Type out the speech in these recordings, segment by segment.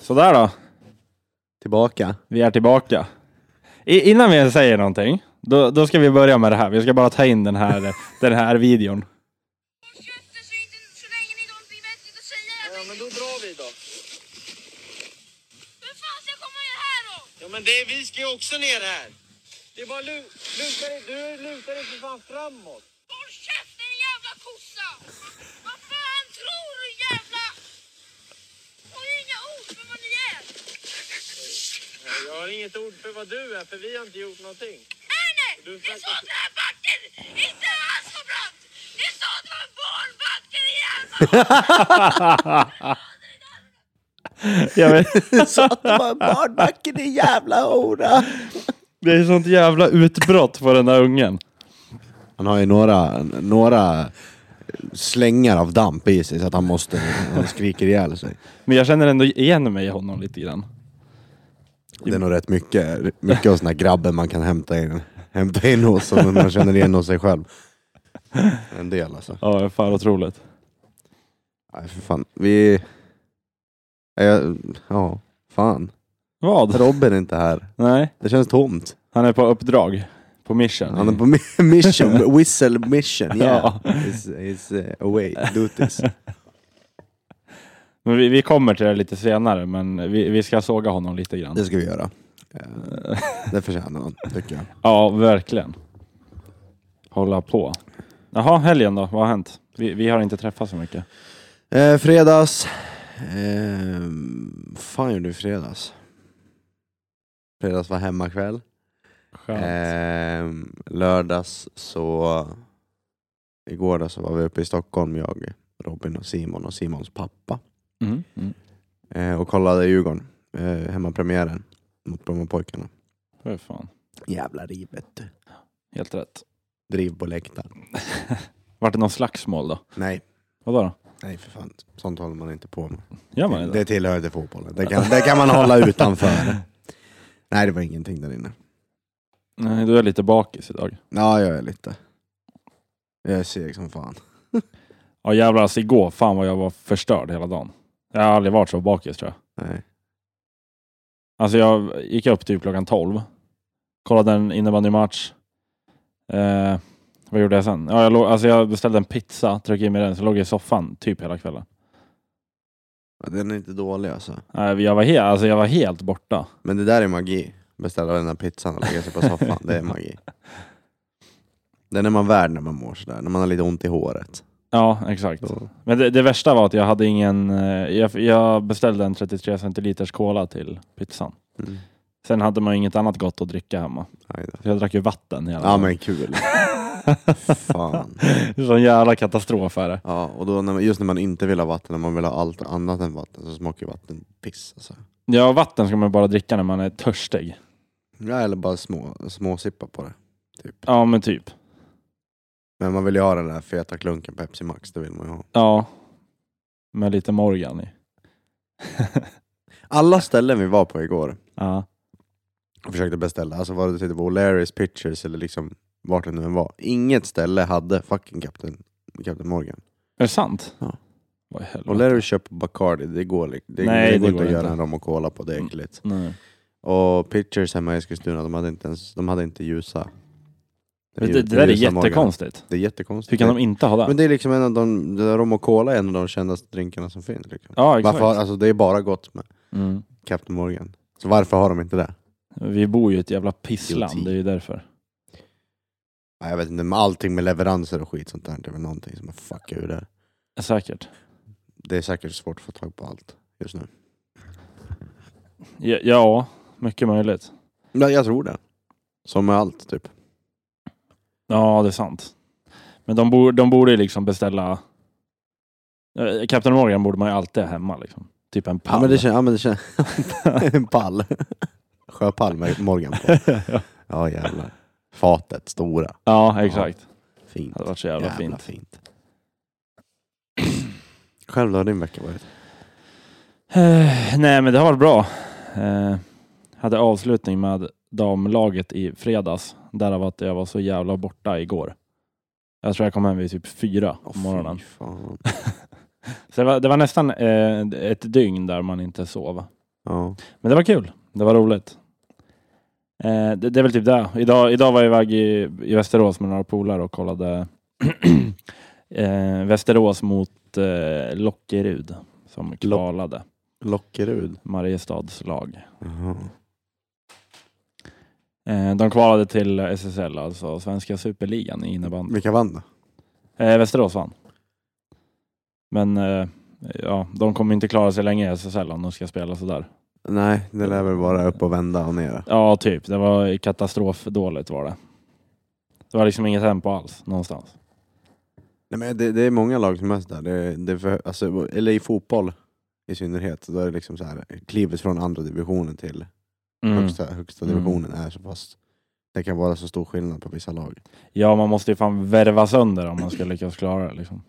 Sådär då, Tillbaka. vi är tillbaka. I, innan vi säger någonting, då, då ska vi börja med det här. Vi ska bara ta in den här, den här videon. Köttet så, inte, så länge ni inte har någonting vettigt att säga. Ja, men då drar vi då. Hur fan ska jag komma in här då? Ja, men det, vi ska ju också ner här. Det är bara lu, luta dig, du lutar dig för fan framåt. Håll käften din jävla kossa! Vad fan tror du jävla... Och inga ord för vad ni är! Jag har inget ord för vad du är, för vi har inte gjort någonting. Nej nej! Ni sa att det här backen inte var Ascobrant! Ni sa att det var en barnbacke din jävla... Jag vet. Så att man barnbacken i jävla hora. Det är sånt jävla utbrott på den där ungen. Han har ju några, några slängar av damp i sig så att han måste, han skriker ihjäl sig. Men jag känner ändå igen mig i honom lite grann. Det är nog rätt mycket, mycket av såna här grabbar man kan hämta in, hämta in hos som man känner igen hos sig själv. En del alltså. Ja, fan otroligt. Nej för fan, vi... Jag, ja, fan. Vad? Robin är inte här. Nej, Det känns tomt. han är på uppdrag. På mission. Han är på mi- mission, whistle mission. Yeah. Ja. He's, he's eh, away, duties. Men vi, vi kommer till det lite senare, men vi, vi ska såga honom lite grann. Det ska vi göra. Eh, Det förtjänar han, tycker jag. Ja, verkligen. Hålla på. Jaha, helgen då? Vad har hänt? Vi, vi har inte träffats så mycket. Eh, fredags. Eh, fan gjorde du i fredags? Fredags var hemmakväll. Skönt. Eh, lördags så... Igår då så var vi uppe i Stockholm, jag, Robin och Simon och Simons pappa. Mm. Mm. Eh, och kollade Djurgården, eh, hemmapremiären mot Brommapojkarna. För fan. Jävla rivet. Helt rätt. Driv på läktaren. Vart det någon slagsmål då? Nej, Vadå då? nej för fan. Sånt håller man inte på med. Gör man det? Det tillhör inte fotbollen. Det kan, det kan man hålla utanför. Nej, det var ingenting där inne. Nej, du är lite bakis idag. Ja, jag är lite. Jag är seg som fan. Ja jävlar, alltså igår, fan vad jag var förstörd hela dagen. Jag har aldrig varit så bakis tror jag. Nej. Alltså jag gick upp typ klockan 12. Kollade en innebandymatch. Eh, vad gjorde jag sen? Ja, jag, låg, alltså jag beställde en pizza, tryckte in mig i den, så låg jag i soffan typ hela kvällen. Ja, Den är inte dålig alltså. Nej, Jag var, he- alltså jag var helt borta. Men det där är magi. Beställa den där pizzan och lägga sig på soffan. Det är magi. Den är man värd när man mår sådär. När man har lite ont i håret. Ja, exakt. Då- Men det, det värsta var att jag hade ingen... eh, Jag, jag beställde en 33 centiliters cola till pizzan. Mm. Sen hade man ju inget annat gott att dricka hemma. Aj då. Så jag drack ju vatten hela Ja men kul. Fan. dagen. Sån jävla katastrof är det. Ja, och då när man, just när man inte vill ha vatten, när man vill ha allt annat än vatten, så smakar ju vatten piss. Alltså. Ja, vatten ska man bara dricka när man är törstig. Ja, eller bara små, småsippa på det. Ja, men typ. Men man vill ju ha den där feta klunken Pepsi Max, det vill man ju ha. Ja. Med lite Morgan i. Alla ställen vi var på igår ja. och försökte beställa, alltså var det typ O'Learys Pictures eller liksom vart det nu än var. Inget ställe hade fucking Captain, Captain Morgan. Är det sant? Ja. Vad i helvete. O'Learys köper Bacardi, det går, li- det, Nej, det går det inte går att göra inte. Mm. en rom och cola på, det är äckligt. Nej. Och Pictures hemma i Eskilstuna, de hade inte, ens, de hade inte ljusa. Det, det, där är ljusa Morgan. jättekonstigt. Det är jättekonstigt. Hur kan de inte ha Men det? det är liksom en av de, det där rom och cola är en av de kändaste drinkarna som finns. Liksom. Ja, exakt. Varför, har- alltså, det är bara gott med Mm. Captain Morgan. Så varför har de inte det? Vi bor ju i ett jävla pissland, Idioti. det är ju därför. Ja, jag vet inte, men allting med leveranser och skit sånt där, det är väl någonting som har fuckat ur det. Säkert. Det är säkert svårt att få tag på allt just nu. Ja, ja mycket möjligt. Ja, jag tror det. Som med allt, typ. Ja, det är sant. Men de, bor, de borde ju liksom beställa... Eh, Captain Morgan borde man ju alltid ha hemma. Liksom. Typ en pall. Ja, men det känns... Ja, men det känns en pall. Sjöpall med Morgan på. Ja, jävlar. Fatet, stora. ja, exakt. Fint. Det hade varit så jävla, fint. Själv då, har din vecka varit? Eh, nej, men det har varit bra. Eh, hade avslutning med damlaget i fredags. Därav att jag var så jävla borta igår. Jag tror jag kom hem vid typ fyra på Åh, morgonen. fy fan. Så det var, det var nästan eh, ett dygn där man inte sov. Ja. Men det var kul. Det var roligt. Eh, det, det är väl typ det. Idag, idag var jag iväg i, i Västerås med några polare och kollade eh, Västerås mot eh, Lockerud som kvalade Lockerud. Mariestads lag. Jaha. Eh, de kvalade till SSL, alltså svenska superligan i innebandy. Vilka vann då? Eh, Västerås vann. Men eh, ja, de kommer inte klara sig länge i SSL om de ska spela sådär. Nej, det lär väl vara upp och vända och ner. Ja, typ. Det var katastrofdåligt var det. Det var liksom inget tempo alls någonstans. Nej, men det, det är många lag som är sådär. Det, det är för, alltså, eller i fotboll i synnerhet, då är det liksom så här, klivet från andra divisionen till Mm. högsta, högsta Mm. divisionen är så pass... Det kan vara så stor skillnad på vissa lag. Ja, man måste ju fan värva sönder om man ska lyckas klara det. Liksom.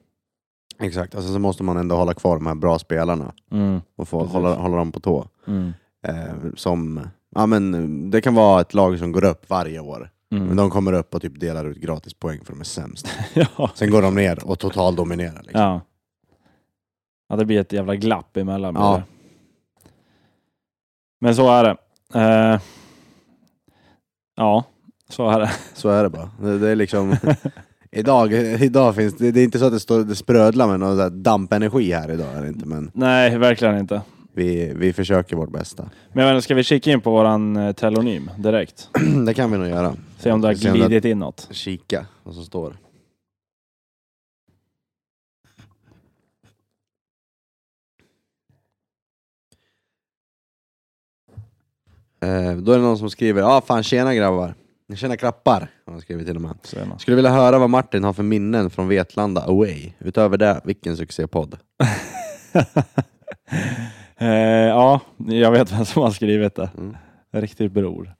Exakt, alltså, så måste man ändå hålla kvar de här bra spelarna Mm. och få, Precis. hålla, hålla dem på tå. Mm. Eh, som, ja, men, det kan vara ett lag som går upp varje år, men Mm. de kommer upp och typ delar ut gratis poäng för de är sämst. ja. Sen går de ner och totaldominerar. Liksom. Ja. ja, det blir ett jävla glapp emellan. Ja. Ja. Men så är det. Eh, ja, så är det. Så är det bara. Det, det är liksom, idag, idag finns det, det är inte så att det, står, det sprödlar med någon så här dampenergi här idag, är det inte, men Nej, verkligen inte. vi, vi försöker vårt bästa. Men jag menar, ska vi kika in på våran eh, telonym direkt? det kan vi nog göra. Se om det har Se om det- glidit in något. Kika vad som står. Eh, Då är det någon som skriver, ja ah, fan tjena grabbar. Tjena klappar, har han skrivit till och med. Så är det. Skulle vilja höra vad Martin har för minnen från Vetlanda Away. Utöver det, vilken succépodd. Eh, ja, jag vet vem som har skrivit det. Mm. Riktig bror.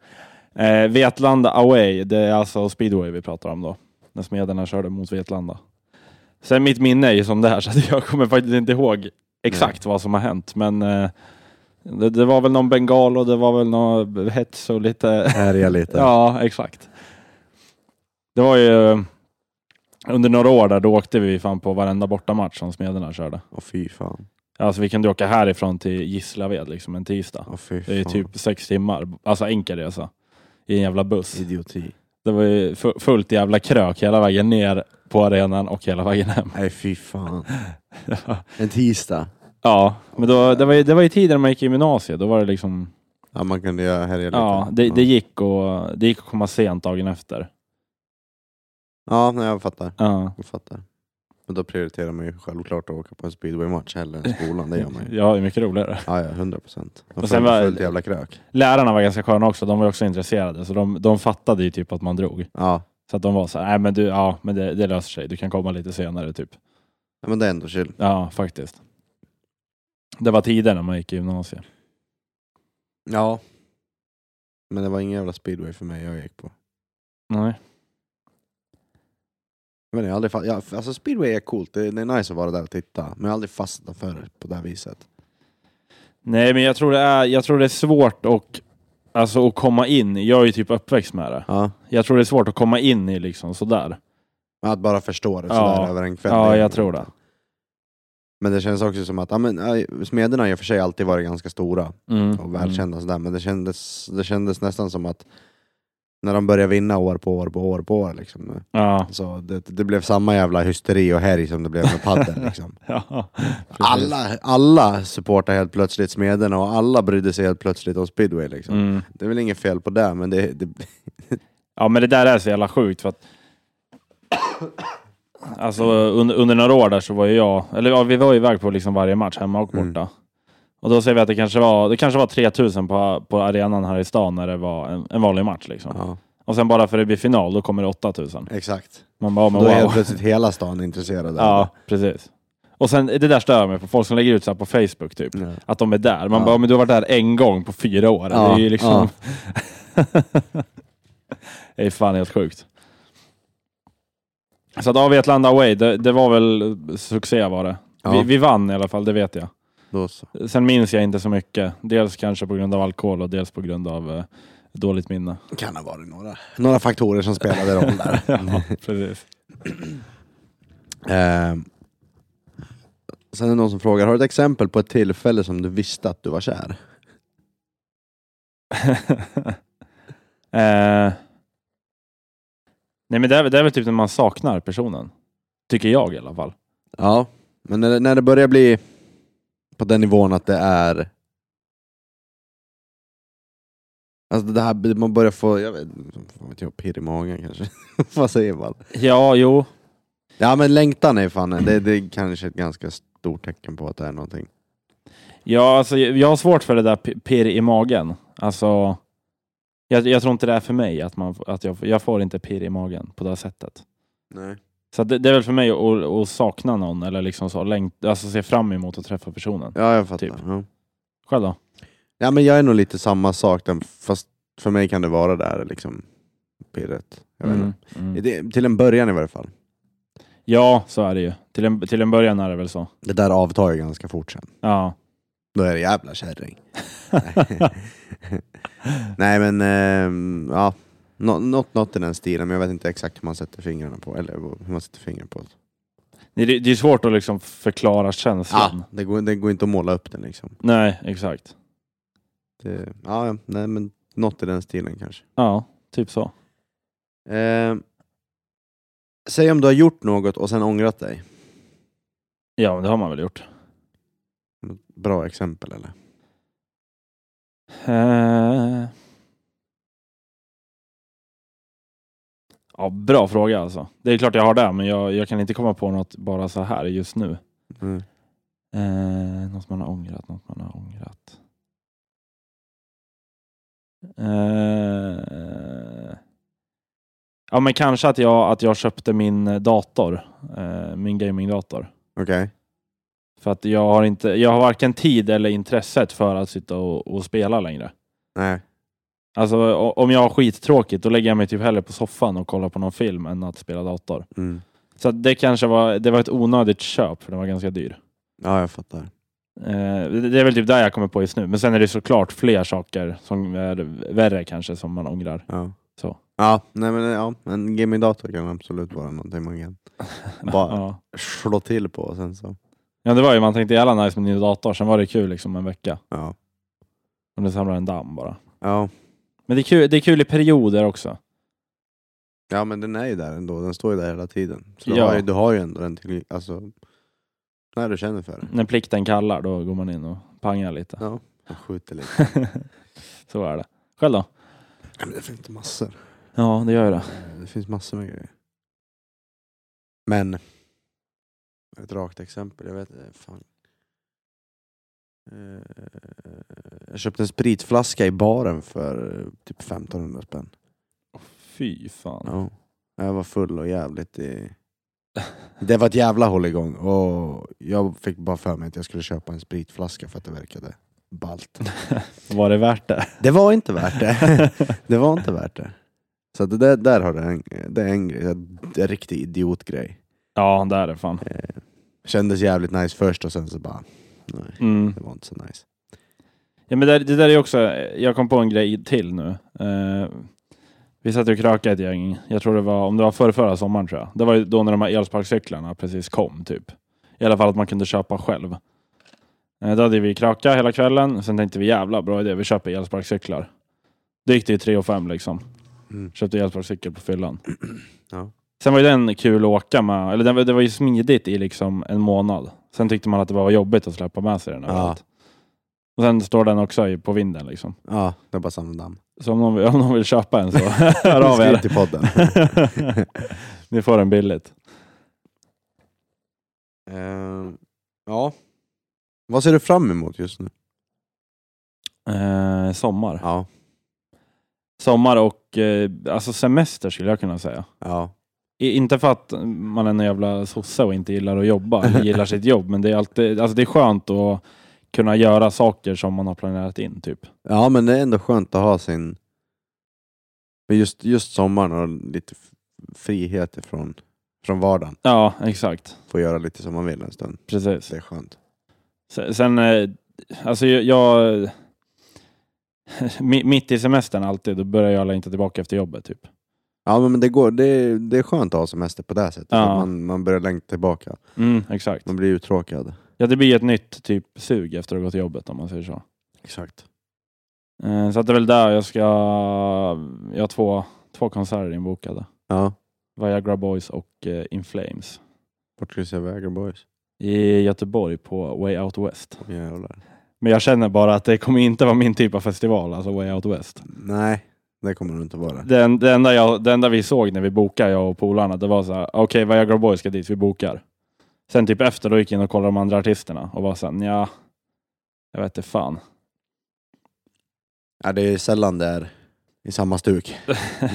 Eh, Vetlanda Away, det är alltså speedway vi pratar om då. När smederna körde mot Vetlanda. Sen mitt minne är ju som det här så att jag kommer faktiskt inte ihåg exakt vad som har hänt. Men eh, det, det var väl någon bengal och det var väl någon hets och lite Härja lite. Ja, exakt. Det var ju under några år där, då åkte vi fan på varenda bortamatch som Smederna körde. Åh fy fan. Alltså vi kunde åka härifrån till Gislaved liksom en tisdag. Åh, fy fan. Det är typ sex timmar, alltså enkel resa. I en jävla buss. Idioti. Det var ju fu- fullt jävla krök hela vägen ner på arenan och hela vägen hem. Nej fy fan. En tisdag. Ja, men då, det var ju, det var ju tiden när man gick i gymnasiet. Då var det liksom, Ja man kunde göra härja lite. ja, det, det, gick och, det gick att komma sent dagen efter. Ja, nej, jag fattar. Ja. Jag fattar. Men då prioriterar man ju självklart att åka på en speedwaymatch hellre än skolan. Det gör man ju. Ja, det är mycket roligare. Ja, ja, 100 procent. Och sen var- Fullt jävla krök. lärarna var ganska sköna också. De var också intresserade, så de, de fattade ju typ att man drog. Ja, Så att de var så här, nej men du, ja, men det, det löser sig. Du kan komma lite senare typ. Ja, men det är ändå chill. Ja, faktiskt. Det var tiden när man gick i gymnasiet. Ja. Men det var ingen jävla speedway för mig jag gick på. Nej. Men jag har aldrig fa- ja, alltså speedway är coolt, det, det är nice att vara där och titta. Men jag har aldrig fastnat för det på det här viset. Nej, men jag tror det är, jag tror det är svårt att, alltså, att komma in. Jag är ju typ uppväxt med det. Ja. Jag tror det är svårt att komma in i liksom sådär. Men Att bara förstå det Ja. sådär över en kväll. Ja, det- jag tror det. Men det känns också som att, ja, men, ja, smederna har i och för sig alltid varit ganska stora. Mm. och välkända sådär, men det kändes, det kändes nästan som att när de började vinna år på år på år på år liksom. Ja. Så det, det blev samma jävla hysteri och härj som det blev med padel liksom. ja. precis. Alla, alla supportar helt plötsligt Smederna och alla brydde sig helt plötsligt om speedway liksom. Mm. Det är väl inget fel på det, men det, det Ja, men det där är så jävla sjukt för att Alltså under, under några år där så var ju jag, eller ja, vi var ju iväg på liksom varje match hemma och borta. Och då säger vi att det kanske var, det kanske var 3000 på, på arenan här i stan när det var en, en vanlig match liksom. ja, Och sen bara för det blir final, då kommer det 8000. exakt. Man bara, men Då är helt wow. plötsligt hela stan intresserad. Ja, precis. Och sen det där stör mig på folk som lägger ut så här på Facebook typ. Ja. Att de är där. Man Ja. bara, men du har varit där en gång på fyra år. Ja, Det är ju liksom... det är fan helt sjukt. Så att av Vetlanda Away, det, det var väl succé var det. Ja. Vi, vi vann i alla fall, det vet jag. Då så. Sen minns jag inte så mycket. Dels kanske på grund av alkohol och dels på grund av eh, dåligt minne. Kan ha varit några, några faktorer som spelade roll där. ja, precis. Ehm. Sen är det någon som frågar, har du ett exempel på ett tillfälle som du visste att du var kär? eh, nej men det är, väl- det är väl typ när man saknar personen. Tycker jag i alla fall. Ja, men när det, när det börjar bli på den nivån att det är... Alltså det här, man börjar få, jag vet fan vet jag, pirr i magen kanske. Vad säger man? Ja, jo. Ja men längtan är fan, det, det är kanske ett ganska stort tecken på att det är någonting. Ja, alltså, jag jag har svårt för det där p- pirr i magen. Alltså, jag, jag tror inte det är för mig. Att man, att jag, jag får inte pirr i magen på det sättet. Nej. Så det, det är väl för mig att, att sakna någon eller liksom så, längt, alltså se fram emot att träffa personen. Ja jag fattar. Typ. Ja. Själv då? ja men jag är nog lite samma sak, den- fast för mig kan det vara det här liksom pirret. Jag vet Mm, inte. mm. Det, till en början i varje fall. Ja, så är det ju. Till en, till en början är det väl så. Det där avtar ju ganska fort sen. Ja. Då är det jävla kärring. Nej men, ehm, ja. Nå- Något något i den stilen, men jag vet inte exakt hur man sätter fingrarna på eller hur man sätter fingret på det. Det, det är svårt att liksom förklara känslan. Ja, det, går, det går inte att måla upp den liksom. Nej, exakt. Det, ja, ja, nej, men något i den stilen kanske. Ja, typ så. Ehm, säg om du har gjort något och sen ångrat dig. Ja, men det har man väl gjort. Bra exempel eller? Eh. Ja, bra fråga alltså. Det är klart jag har det, men jag, jag kan inte komma på något bara så här just nu. Mm. Eh, något man har ångrat, något man har ångrat. Eh, ja, men kanske att jag, att jag köpte min dator, eh, min gamingdator. Okej. För att jag har, inte, jag har varken tid eller intresset för att sitta och, och spela längre. Nej. Alltså o- om jag har skittråkigt, då lägger jag mig typ hellre på soffan och kollar på någon film än att spela dator. Mm. Så att det kanske var, det var ett onödigt köp, för den var ganska dyr. Ja, jag fattar. Eh, det det är väl typ där jag kommer på just nu. Men sen är det såklart fler saker som är värre kanske som man ångrar. Ja. Så. Ja, nej men ja, en gamingdator kan absolut vara någonting man kan bara Ja. slå till på och sen så. ja, det var ju, man tänkte jävla nice med ny dator, sen var det kul liksom en vecka. Ja. Och nu samlar en damm bara. Ja. Men det är kul, det är kul i perioder också. ja, men den är ju där ändå. Den står ju där hela tiden. Så du, Ja. har, ju, du har ju ändå den till, alltså, när du känner för det. När plikten kallar, då går man in och pangar lite. Ja. Jag skjuter lite. så är det. Själv då? Ja, men det finns massor. Ja, det gör jag. Eh, Det finns massor med grejer. Men, ett rakt exempel, jag vet eh, fan. Eh, Jag köpte en spritflaska i baren för eh, typ 1500 spänn. Fy fan. Ja. Jag var full och jävligt i... Det var ett jävla hålligång och jag fick bara för mig att jag skulle köpa en spritflaska för att det verkade ballt. Var det värt det? Det var inte värt det. Det var inte värt det. Så att det där, där har du en, det är en, grej, det är en riktig idiotgrej. ja, det är det fan. Eh, Kändes jävligt nice först och sen så bara, nej Mm. det var inte så nice. Ja, men det, det där är ju också, jag kom på en grej till nu. Eh, vi satt och krökade ett gäng, jag tror det var, om det var förra, förra sommaren tror jag. Det var ju då när de här elsparkcyklarna precis kom typ. I alla fall att man kunde köpa själv. Eh, då hade vi kröka hela kvällen, sen tänkte vi jävla bra idé, vi köper elsparkcyklar. Då gick det ju 3 och fem liksom. Mm. Köpte elsparkcykel på fyllan. Ja. Sen var ju den kul att åka med, eller den, var- det var ju smidigt i liksom en månad. Sen tyckte man att det var jobbigt att släppa med sig den Ja. överallt. Och sen står den också i- på vinden liksom. Ja, det var bara samma damm. Så om någon, vill- om någon vill köpa en så hör av Skriv er. till podden. Ni får den billigt. Eh, ja. Vad ser du fram emot just nu? Eh, sommar. Ja. Sommar och eh, alltså semester skulle jag kunna säga. Ja. I, inte för att man är en jävla sosse och inte gillar att jobba, eller gillar sitt jobb, men det är, alltid, alltså det är skönt att kunna göra saker som man har planerat in. typ. Ja, men det är ändå skönt att ha sin... Men just, just sommaren och lite f- frihet ifrån, från vardagen. Ja, exakt. Få göra lite som man vill en stund. Precis. Det är skönt. Se- Sen, eh, alltså jag... jag mi- mitt i semestern alltid, då börjar jag längta tillbaka efter jobbet. typ. Ja men det, går, det, det är skönt att ha semester på det här sättet. Ja. Att Man, man börjar längta tillbaka. Mm, exakt. Man blir uttråkad. Ja, det blir ett nytt typ sug efter att gå till jobbet om man säger så. Exakt. Eh, Så att det är väl där jag ska... Jag har två, två konserter inbokade. Ja. Viagra Boys och eh, In Flames. Vart ska du se Vägar Boys? I Göteborg på Way Out West. Åh, Jävlar. Men jag känner bara att det kommer inte vara min typ av festival, alltså Way Out West. Nej, det kommer det inte vara. Det, en- det, enda, jag, det enda vi såg när vi bokade, jag och polarna, det var så här, okej Viagra Boys ska dit, vi bokar. Sen typ efter då gick jag in och kollade de andra artisterna och var såhär, ja, jag vet inte fan. Ja, det är sällan det är i samma stuk.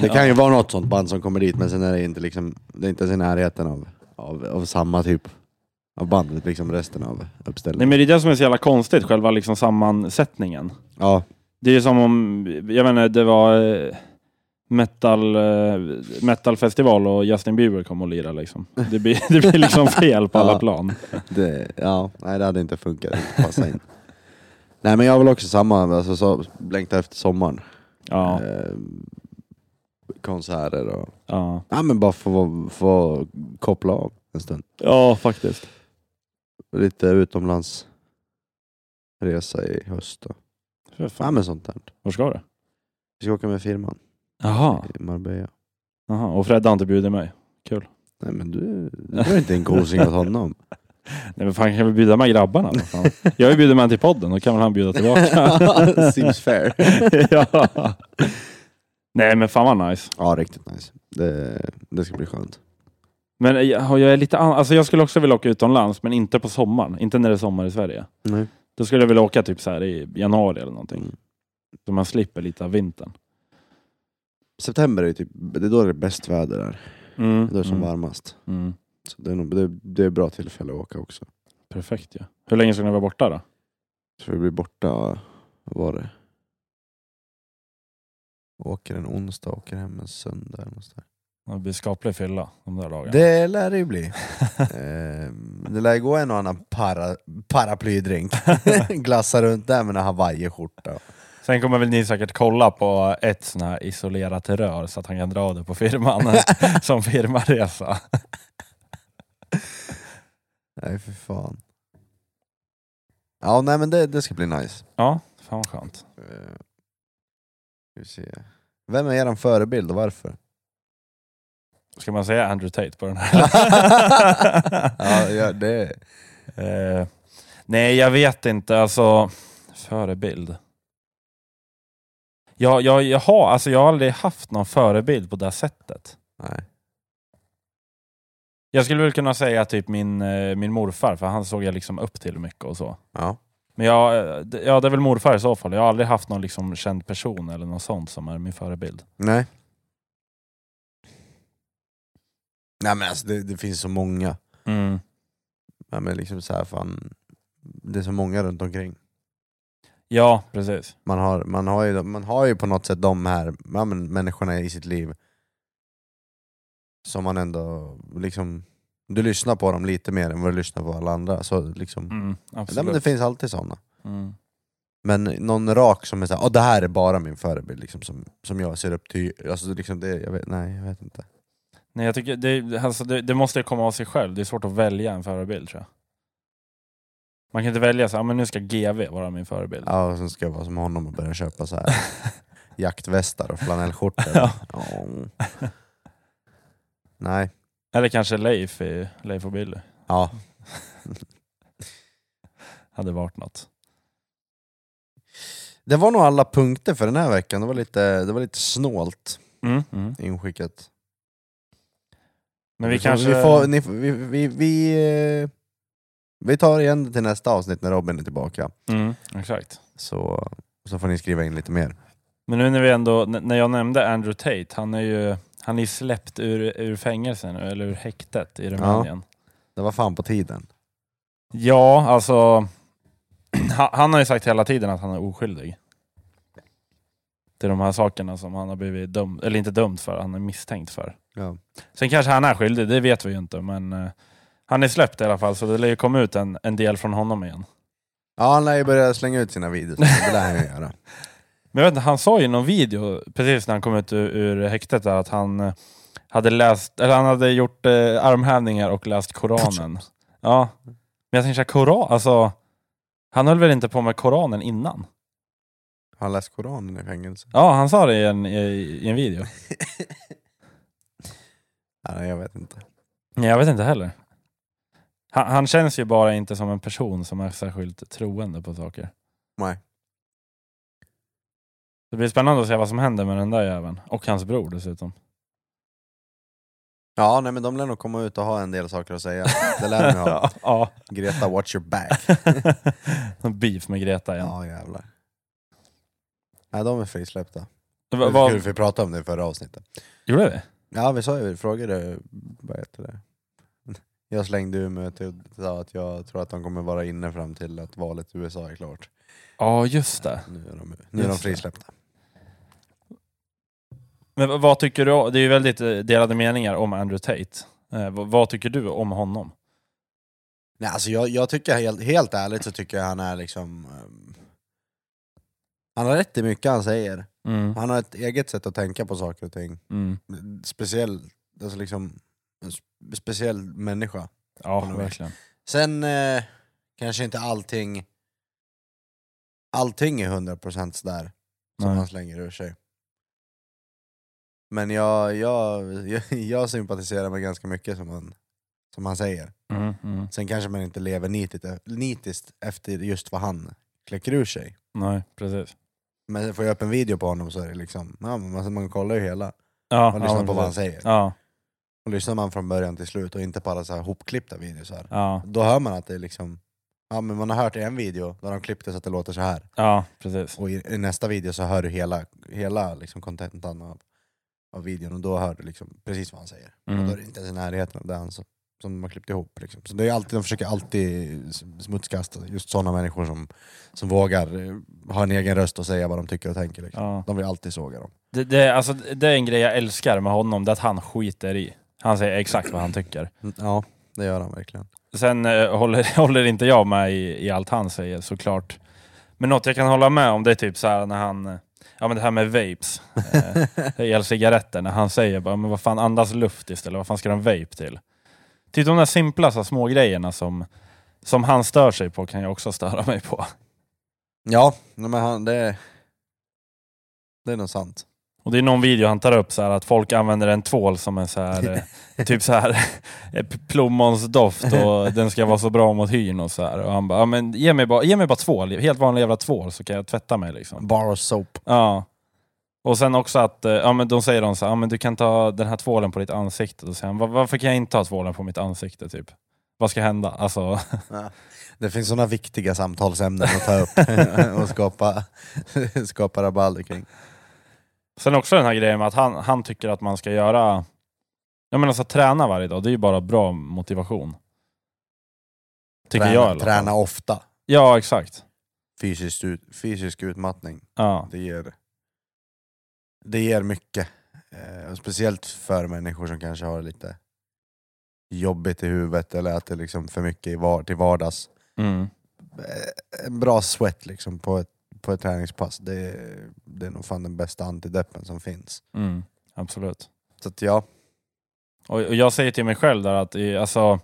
Det kan ju vara något sånt band som kommer dit men sen är det inte, liksom, det är inte ens i närheten av, av, av samma typ av bandet, liksom resten av Nej uppställningen. men det är det som är så jävla konstigt, själva liksom sammansättningen. Ja, Det är ju som om, jag menar det var eh, metal, eh, metalfestival och Justin Bieber kom och lirade liksom. Det blir, det blir liksom fel på alla Ja. plan. det, ja, nej det hade inte funkat, det hade inte passat in. Nej men jag vill också samma, alltså, så, längtar efter sommaren. Ja, Eh, konserter och... ja. Ja men bara få, få koppla av en stund. ja faktiskt. Lite utomlandsresa i höst då. Ja men sånt där. Var ska du? Vi ska åka med firman Jaha, i Marbella. Jaha. och Fred har inte bjudit mig. Nej men du, du är inte en kosing åt honom. Nej men fan kan vi bjuda med grabbarna? Vad Fan. Jag har ju bjudit med han till podden, då kan väl han bjuda tillbaka. Seems fair. ja. Nej men fan vad nice. Ja riktigt nice. Det, det ska bli skönt. Men eh, jag, jag är lite an... alltså jag skulle också vilja åka utomlands, men inte på sommaren. Inte när det är sommar i Sverige. Nej. Då skulle jag vilja åka typ så här i januari eller någonting. Mm. Så man slipper lite av vintern. September är ju typ, det är då det är bäst väder där. Mm. Det är som varmast. Mm. Så det är, nog, det, det är bra tillfälle att åka också. Perfekt ju. Hur länge ska ni vara borta då? Så vi blir borta, vad var det? Åker en onsdag, åker hem en söndag eller något sånt där. Det blir skaplig fylla de där dagarna. Det lär det ju bli. Ehm, det lär ju gå en och annan para, paraplydrink. Glassa runt där med en hawaiiskjorta. Sen kommer väl ni säkert kolla på ett sån här isolerat rör så att han kan dra det på firman som firmaresa. Nej för fan. Ja nej men det, det ska bli nice. Ja, fan vad skönt. Ehm, ska vi se. Vem är eran förebild och varför? Ska man säga Andrew Tate på den här? ja, ja, det, Eh, nej, jag vet inte. Alltså, förebild. Jag, jag, jag, har, alltså, jag har aldrig haft någon förebild på det här sättet. nej. Jag skulle väl kunna säga typ min, eh, min morfar, för han såg jag liksom upp till mycket och så. Ja. Men jag, eh, d- ja, det är väl morfar i så fall. Jag har aldrig haft någon liksom känd person eller något sånt som är min förebild. Nej. Nej men alltså det, det finns så många. Mm. Ja, men liksom så här, fan, det är så många runt omkring. Ja, precis. Man har, man, har ju, man har ju på något sätt de här ja, men, människorna i sitt liv som man ändå liksom... Du lyssnar på dem lite mer än vad du lyssnar på alla andra. Så liksom, Mm, ja, men det absolut. finns alltid sådana. Mm. Men någon rak som är såhär, "Åh, det här är bara min förebild liksom, som, som jag ser upp till. Alltså, liksom det, jag vet, nej, jag vet inte. Nej, jag tycker det, alltså, det, det måste ju komma av sig själv. Det är svårt att välja en förebild tror jag. Man kan inte välja så här, "Ah, men nu ska GV vara min förebild. Ja, och sen ska jag vara som honom och börja köpa så här jaktvästar och flanellskjortor. Ja. Ja. Nej, Eller kanske Leif, i, Leif och Billy. ja. Hade varit något. Det var nog alla punkter för den här veckan. Det var lite, det var lite snålt Mm. Mm. inskickat. Men vi får- kanske... Vi, får, ni, får- vi, vi, vi, eh, vi tar igen det till nästa avsnitt när Robin är tillbaka. Mm, exakt. Så, så får ni skriva in lite mer. Men nu när vi ändå, n- när jag nämnde Andrew Tate, han är ju han är ju släppt ur, ur fängelse nu, eller ur häktet i Rumänien. Det var fan på tiden. Ja, alltså... ha- Han har ju sagt hela tiden att han är oskyldig. Till de här sakerna som han har blivit dömd, eller inte dömd för, han är misstänkt för. Ja. Sen kanske han är skyldig, det vet vi ju inte, men eh, han är släppt i alla fall, så det lär ju komma ut en, en del från honom igen. Ja, han lär ju börja slänga ut sina videos. Det lär han ju göra. Men jag vet inte, han sa ju i någon video precis när han kom ut ur, ur häktet där att han eh, hade läst, eller han hade gjort eh, armhävningar och läst Koranen. Ja. Men jag tänker så här, Koran, alltså han höll väl inte på med Koranen innan? Han läst Koranen i fängelse. Ja, han sa det i en, i, i en video. Nej, jag vet inte. Nej, jag vet inte heller. Han, han känns ju bara inte som en person som är särskilt troende på saker. Nej. Det blir spännande att se vad som händer med den där jäveln. Och hans bror dessutom. Ja, nej men de lär nog komma ut och ha en del saker att säga. Det lär de ju ha. ja. Greta, watch your back. Någon beef med Greta igen. Ja, jävlar. Nej, de är frisläppta. Det Va, var va, kul, för vi pratade om det i förra avsnittet. gjorde vi? Ja, vi sa ju, vi frågade, vad heter det? Jag slängde ur mig och sa att jag tror att de kommer vara inne fram till att valet i USA är klart. Ja, just det. Nu är de, nu är de Just det. frisläppta. Men vad- vad tycker du? Det är ju väldigt eh, delade meningar om Andrew Tate. Eh, vad, vad tycker du om honom? Nej, alltså jag, jag tycker helt, helt ärligt så tycker jag han är liksom... ehm, han har rätt i mycket han säger. Mm. Han har ett eget sätt att tänka på saker och ting. Mm. Speciell, alltså liksom, en sp- speciell människa. Ja, Håller med. verkligen. Sen eh, kanske inte allting Allting är 100% sådär som Nej. han slänger ur sig. Men jag, jag, jag, jag sympatiserar med ganska mycket som han, som han säger. Mm, mm. Sen kanske man inte lever nitigt, nitiskt efter just vad han kläcker ur sig. Nej, precis. Men får jag upp en video på honom så är det liksom, ja, men man, man kollar ju hela Ja, och lyssnar ja, på vad han precis. säger. Ja, Och lyssnar man från början till slut och inte på alla så här hopklippta videos här. ja, Då hör man att det är liksom, ja men man har hört i en video där de klippte så att det låter så här. ja, precis. Och i, i nästa video så hör du hela, hela liksom contentan av, av videon och då hör du liksom precis vad han säger. Och då är Mm. det inte ens i närheten av det han som, som de har klippt ihop. Liksom. Så det är alltid, de försöker alltid s- smutskasta just sådana människor som, som vågar eh, ha en egen röst och säga vad de tycker och tänker. Liksom. Ja. De vill alltid såga dem. Det, det, alltså, det är en grej jag älskar med honom, det är att han skiter i. Han säger exakt vad han tycker. Mm, Ja, det gör han verkligen. Sen eh, håller, håller inte jag med i, i allt han säger såklart. Men något jag kan hålla med om det är typ så här när han, eh, ja men det här med vapes, eh, elcigaretter, när han säger bara, men vad fan andas luft istället, vad fan ska de vape till? Typ de där simpla så här, små grejerna som, som han stör sig på kan jag också störa mig på. Ja, men han, det, det är nog sant. Och det är någon video han tar upp så här att folk använder en tvål som en så här, eh, typ så här eh, p- plommonsdoft och den ska vara så bra mot hyn och så här. Och han bara, "Ja, men ge mig bara, ge mig bara tvål, helt vanlig jävla tvål så kan jag tvätta mig liksom. Bar of soap. Ja. Och sen också att, eh, ja men då säger de så här, ja men du kan ta den här tvålen på ditt ansikte. Då säger han, "Va- varför kan jag inte ta tvålen på mitt ansikte typ? Vad ska hända? Alltså, Det finns sådana viktiga samtalsämnen att ta upp och skapa, skapa rabalder kring. Sen också den här grejen med att han, han tycker att man ska göra, jag menar så att träna varje dag, det är ju bara bra motivation. Tycker träna, jag i alla fall. Träna ofta. Ja, exakt. Fysisk, ut, fysisk utmattning, Ja, det ger, det ger mycket. Eh, och speciellt för människor som kanske har lite jobbigt i huvudet eller att det är liksom för mycket i var, till vardags. mm. Eh, en bra sweat liksom på ett, på ett träningspass, det, är- det är nog fan den bästa antideppen som finns. Mm. absolut. Så att ja, Och, och jag säger till mig själv där att i, alltså,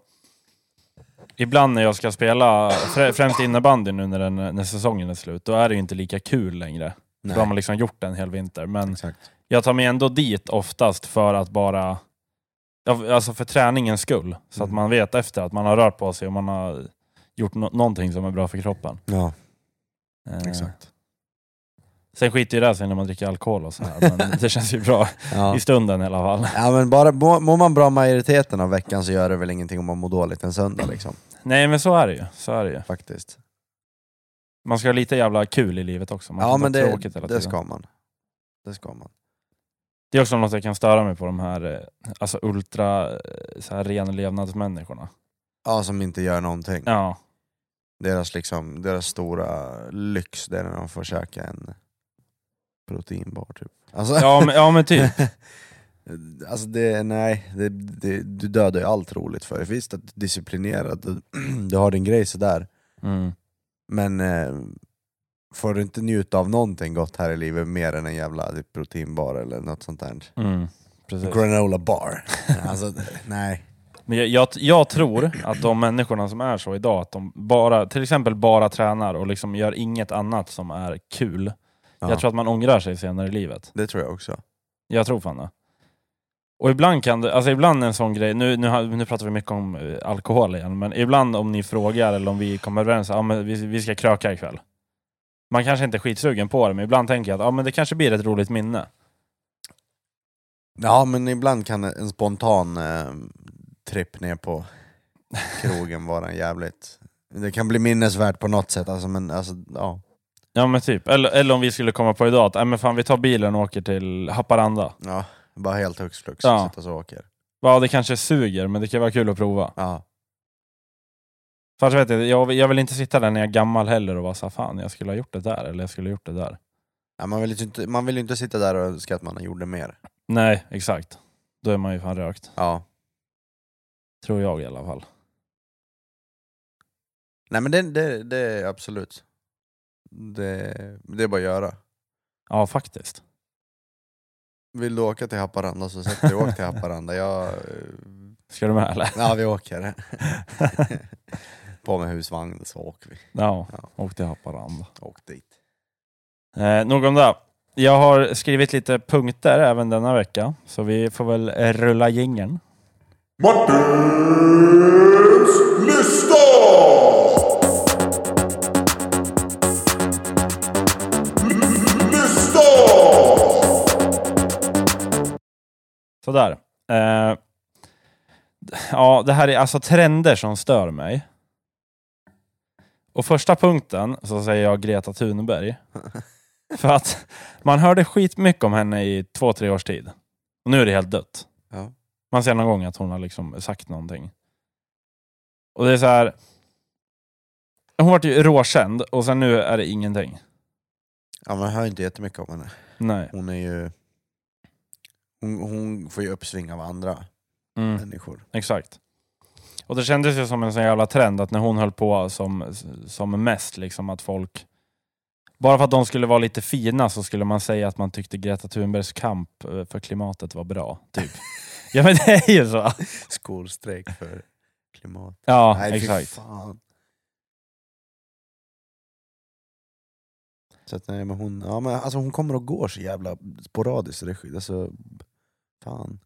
ibland när jag ska spela, frä- främst innebandy nu när, den, när säsongen är slut, då är det ju inte lika kul längre. Då har man liksom gjort en hel vinter. Men exakt. jag tar mig ändå dit oftast för att bara, ja, alltså för träningens skull. Så att Mm. man vet efter att man har rört på sig och man har gjort nå- någonting som är bra för kroppen. Ja, Eh, exakt. Sen skiter ju det sig när man dricker alkohol och så här, men det känns ju bra Ja. i stunden i alla fall. Ja men bara, må- mår man bra majoriteten av veckan så gör det väl ingenting om man mår dåligt en söndag liksom, Nej men så är det ju. Så är det ju. faktiskt. Man ska ha lite jävla kul i livet också. Man Ja kan men inte ha det, tråkigt hela det tiden. ska man. Det ska man. det är också något jag kan störa mig på, de här eh, alltså ultra eh, så här, renlevnadsmänniskorna. Ja, som inte gör någonting. Ja, Deras, liksom, deras stora lyx, det är när de får käka en proteinbar typ. Alltså, ja, men, ja men typ. alltså det, nej, det, det, du dödar ju allt roligt för det. Visst att du är disciplinerad, du, du har din grej sådär. Mm. Men eh, får du inte njuta av någonting gott här i livet mer än en jävla typ, proteinbar eller något sånt där. Mm, precis. Granola bar. alltså, nej. Men jag, jag, jag tror att de människorna som är så idag, att de bara, till exempel bara tränar och liksom gör inget annat som är kul. Ja, Jag tror att man ångrar sig senare i livet. Det tror jag också. Jag tror fan det. Och ibland kan det, alltså ibland en sån grej, nu, nu, har- nu pratar vi mycket om eh, alkohol igen, men ibland om ni frågar eller om vi kommer överens, ja men vi, vi ska kröka ikväll. Man kanske inte är skitsugen på det, men ibland tänker jag att ja, men det kanske blir ett roligt minne. Ja men ibland kan en spontan eh, tripp ner på krogen vara en jävligt... Det kan bli minnesvärt på något sätt, alltså, men alltså, ja. Ja men typ, eller, eller om vi skulle komma på idag att ja, men fan, vi tar bilen och åker till Haparanda. ja bara helt hux flux, Ja. sitta så och åker. Ja det kanske suger, men det kan vara kul att prova. Ja. Fast jag vet jag, jag, jag vill inte sitta där när jag är gammal heller och vara så här, fan jag skulle ha gjort det där, eller jag skulle ha gjort det där. Ja, man, vill ju inte, man vill ju inte sitta där och önska att man gjorde mer. Nej, exakt. Då är man ju fan rökt. Ja. Tror jag i alla fall. Nej men det, det, det är absolut. Det, det är bara att göra. Ja, faktiskt. Vill du åka till Haparanda så sätt dig och åk till Haparanda. Jag, eh, Ska du med eller? ja vi åker. På med husvagn så åker vi. Ja, Ja. åk till Haparanda. Åk dit. Eh, nog om det. Jag har skrivit lite punkter även denna vecka, så vi får väl eh, rulla jingeln. Martins lista! Lista! Sådär. Eh, ja, det här är alltså trender som stör mig. Och första punkten så säger jag Greta Thunberg. För att man hörde skitmycket om henne i två, tre års tid. Och nu är det helt dött. Ja. Man ser någon gång att hon har liksom sagt någonting. Och det är så här. Hon vart ju råkänd och sen nu är det ingenting. ja man hör inte jättemycket om henne. Nej. Hon är ju... Hon, hon får ju uppsving av andra Mm, människor. exakt. Och det kändes ju som en sån jävla trend att när hon höll på som, som mest, liksom att folk... Bara för att de skulle vara lite fina så skulle man säga att man tyckte Greta Thunbergs kamp eh, för klimatet var bra. Typ. ja men det är ju så. Skolstrejk för klimat. Ja, Nej, fy exakt. Fan. Så att, nej, men hon, ja, men alltså hon kommer och går så jävla sporadiskt. så Det, är- alltså, fan.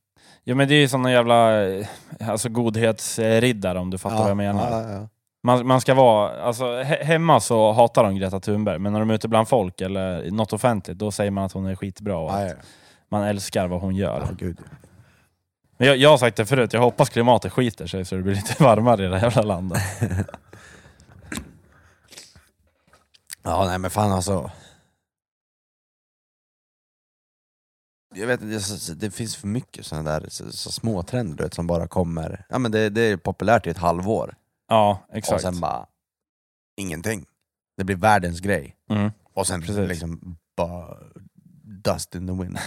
Ja men det är ju såna jävla eh, alltså, godhetsriddare om du fattar ja, vad jag menar. Ja, ja. Man, man ska vara, alltså he hemma så hatar de Greta Thunberg, men när de är ute bland folk eller i något offentligt, då säger man att hon är skitbra och Ja, att ja. man älskar vad hon gör. Ja, gud. Men jag, jag har sagt det förut, jag hoppas klimatet skiter sig så det blir lite varmare i det här jävla landet. ja nej men fan alltså. Jag vet inte, det, är så- det finns för mycket sådana där så, så små trender du vet, som bara kommer. Ja, men det, det är populärt i ett halvår Ja, exakt. och sen bara ingenting. Det blir världens grej. Mm. Och sen Precis. liksom bara dust in the wind.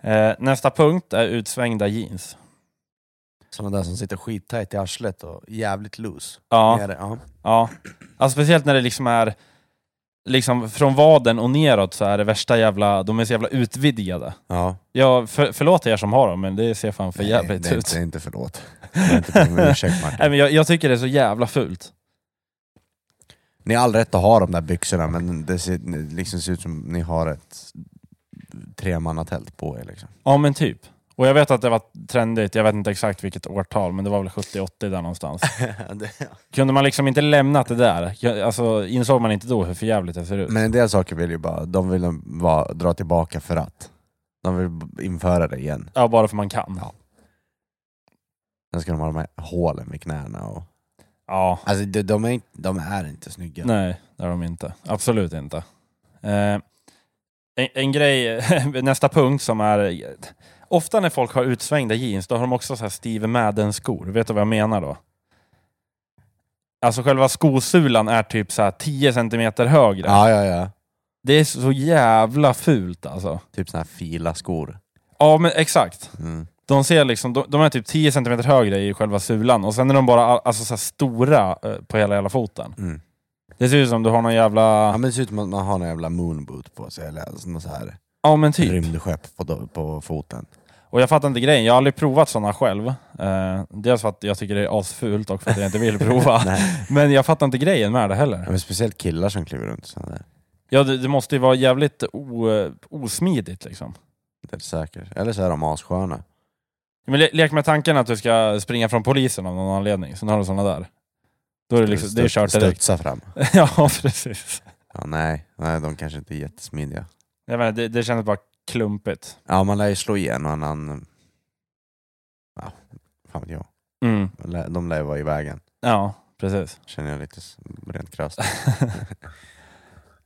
Eh, nästa punkt är utsvängda jeans. Sådana där som sitter skittajt i arslet och jävligt loose. Ja, Nere, ja. ja. Alltså, speciellt när det liksom är liksom från vaden och neråt så är det värsta jävla, de är så jävla utvidgade. ja. Ja, för, förlåt er som har dem, men det ser fan för Nej, jävligt det är ut. inte, inte förlåt. Det är inte bra med ursäkt Nej, Martin. men jag, jag tycker det är så jävla fult. Ni har all rätt att ha de där byxorna men det ser, ni- liksom ser ut som ni har ett tremannatält på er. Liksom. Ja men typ. Och jag vet att det var trendigt, jag vet inte exakt vilket årtal, men det var väl 70-80 där någonstans. Kunde man liksom inte lämnat det där? Jag- Alltså, insåg man inte då hur förjävligt det ser ut? men en del saker vill ju bara, de vill de bara dra tillbaka för att. De vill b- införa det igen. Ja, bara för man kan. Ja. Sen ska de ha de här hålen vid knäna. Och... Ja. Alltså de, de, är, inte- de är inte snygga. Nej, det är de inte. Absolut inte. Eh, en, en grej, nästa punkt som är... Ofta när folk har utsvängda jeans, då har de också så här Steve Madden-skor. Vet du vad jag menar då? Alltså själva skosulan är typ så här 10 centimeter högre. Ja, ja, ja. Det är så jävla fult alltså. Typ såna här fila skor. Ja, men exakt. Mm. De ser liksom, de, de är typ 10 cm högre i själva sulan och sen är de bara all- alltså, så här stora eh, på hela hela foten. Mm. Det ser ut som du har någon jävla... Ja, men det ser ut som att man har en jävla moonboot på sig, eller alltså något så här Ja men typ. rymdskepp på, på foten. Och jag fattar inte grejen, jag har aldrig provat sådana själv. Eh, dels för att jag tycker det är asfult och för att jag inte vill prova. men jag fattar inte grejen med det Ja, heller. men speciellt killar som kliver runt sådana där. Ja, det, det måste ju vara jävligt o, osmidigt liksom. Det är säkert. Eller så är de assköna. Men le, lek med tanken att du ska springa från polisen av någon anledning, sen har du sådana där. Då är det, liksom, det är kört direkt. Studsa fram. ja, precis. Ja, nej. nej, de kanske inte är jättesmidiga. Jag menar, det, det kändes bara klumpigt. Ja, man lär ju slå igen och annan... Ja, fan vet jag. Mm. Lä- De lär ju vara i vägen, Ja, precis. känner jag lite s- rent krasst.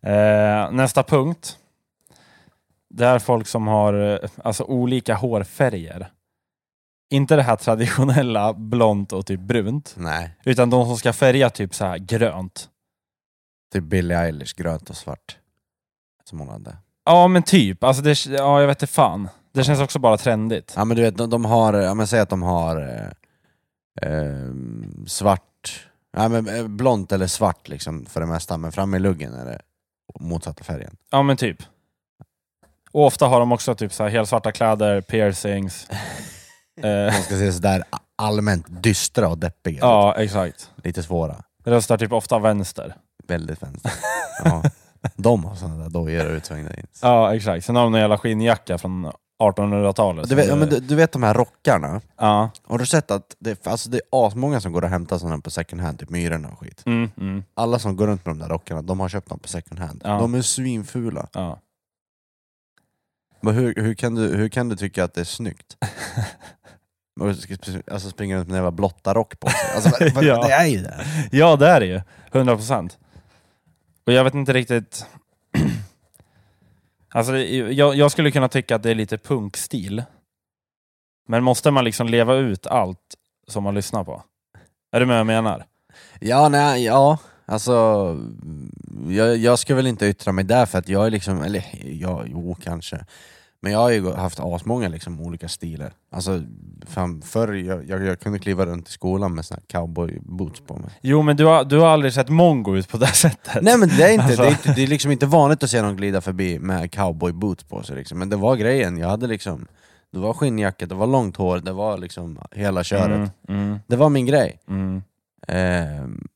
Eh, nästa punkt. Det är folk som har eh, alltså, olika hårfärger. Inte det här traditionella blont och typ brunt, nej, utan de som ska färga typ så här grönt. typ Billie Eilish, grönt och svart. Som hon hade. Ja men typ, alltså det, ja, jag vet inte fan. Det känns också bara trendigt. Ja men du vet, de, de har, ja men säg att de har eh, eh, svart, ja men eh, blont eller svart liksom för det mesta, men framme i luggen är det motsatta färgen. Ja men typ. Och ofta har de också typ så här helsvarta kläder, piercings. Eh, De ska se sådär allmänt dystra och deppiga. ja exakt. Lite svåra. Röstar typ ofta vänster. Väldigt vänster. Ja. De har sådana där dojor och utsvängda jeans. Ja exakt. Sen har de en jävla skinnjacka från 1800-talet. Du vet, ja, men du, du vet de här rockarna? Ja. Har du sett att det, alltså det är asmånga som går och hämtar sådana på second hand, typ Myrorna och skit. Mm, mm, Alla som går runt med de där rockarna, de har köpt dem på second hand. Ja. De är svinfula. ja. Men hur, hur, kan du, hur kan du tycka att det är snyggt? Och ska sp- Alltså springa runt med en jävla blotta rock på sig. Alltså, vad- vad- Ja. Det är ju det. ja, det är det ju. 100 procent. Och jag vet inte riktigt... alltså, det- jag, jag skulle kunna tycka att det är lite punkstil. Men måste man liksom leva ut allt som man lyssnar på? Är du med vad jag menar? Ja, nej, ja. Alltså, mm, jag, jag ska väl inte yttra mig där för att jag är liksom, eller ja, jo kanske. Men jag har ju haft asmånga liksom, olika stilar. Alltså, fan, förr jag, jag, jag kunde kliva runt i skolan med såna här cowboyboots på mig. Jo, men du har, du har aldrig sett mongo ut på det här sättet. Nej men det är, inte, Alltså. det, är inte, det är liksom inte vanligt att se någon glida förbi med cowboyboots på sig liksom. Men det var grejen, jag hade liksom Det var skinnjacka, det var långt hår, det var liksom hela köret mm, mm, Det var min grej mm. Ehm.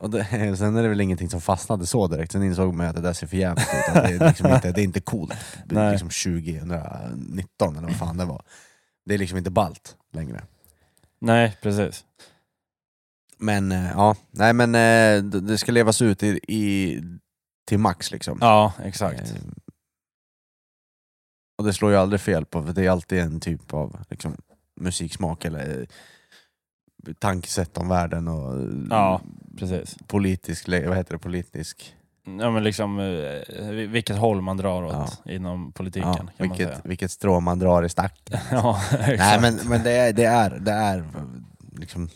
och det, Sen är det väl ingenting som fastnade så direkt, sen insåg man att det där ser för jävligt ut att det, är liksom inte, det är inte coolt Det är Nej. liksom 2019 eller vad fan det var Det är liksom inte balt längre Nej, precis. Men eh, ja, nej men eh, det- det ska levas ut i, i, till max liksom Ja, exakt. Eh, Och det slår ju aldrig fel på, för det är alltid en typ av liksom, musiksmak eller eh, tankesätt om världen och eh, Ja, precis. politisk, le- vad heter det, politisk, Ja, men liksom, eh, vilket håll man drar åt inom politiken. ja, kan man säga. vilket, vilket strå man drar i stacken. Ja, exakt. nej men, men det, är, det är, det är liksom,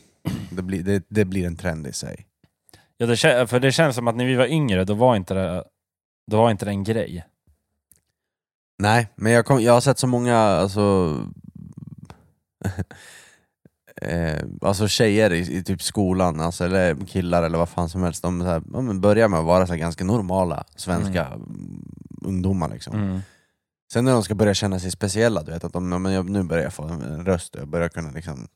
det blir, det, det blir en trend i sig. Ja, det kä- för det känns som att när vi var yngre, då var inte det, då var inte det en grej. Nej, men jag, kom, jag har sett så många alltså, eh, alltså tjejer i, i typ skolan, alltså, eller killar eller vad fan som helst, de så här, ja, men börjar med att vara så här, ganska normala svenska mm. ungdomar. Liksom. Mm. Sen när de ska börja känna sig speciella, du vet att de, ja, men jag, nu börjar jag få en- en röst, jag börjar kunna liksom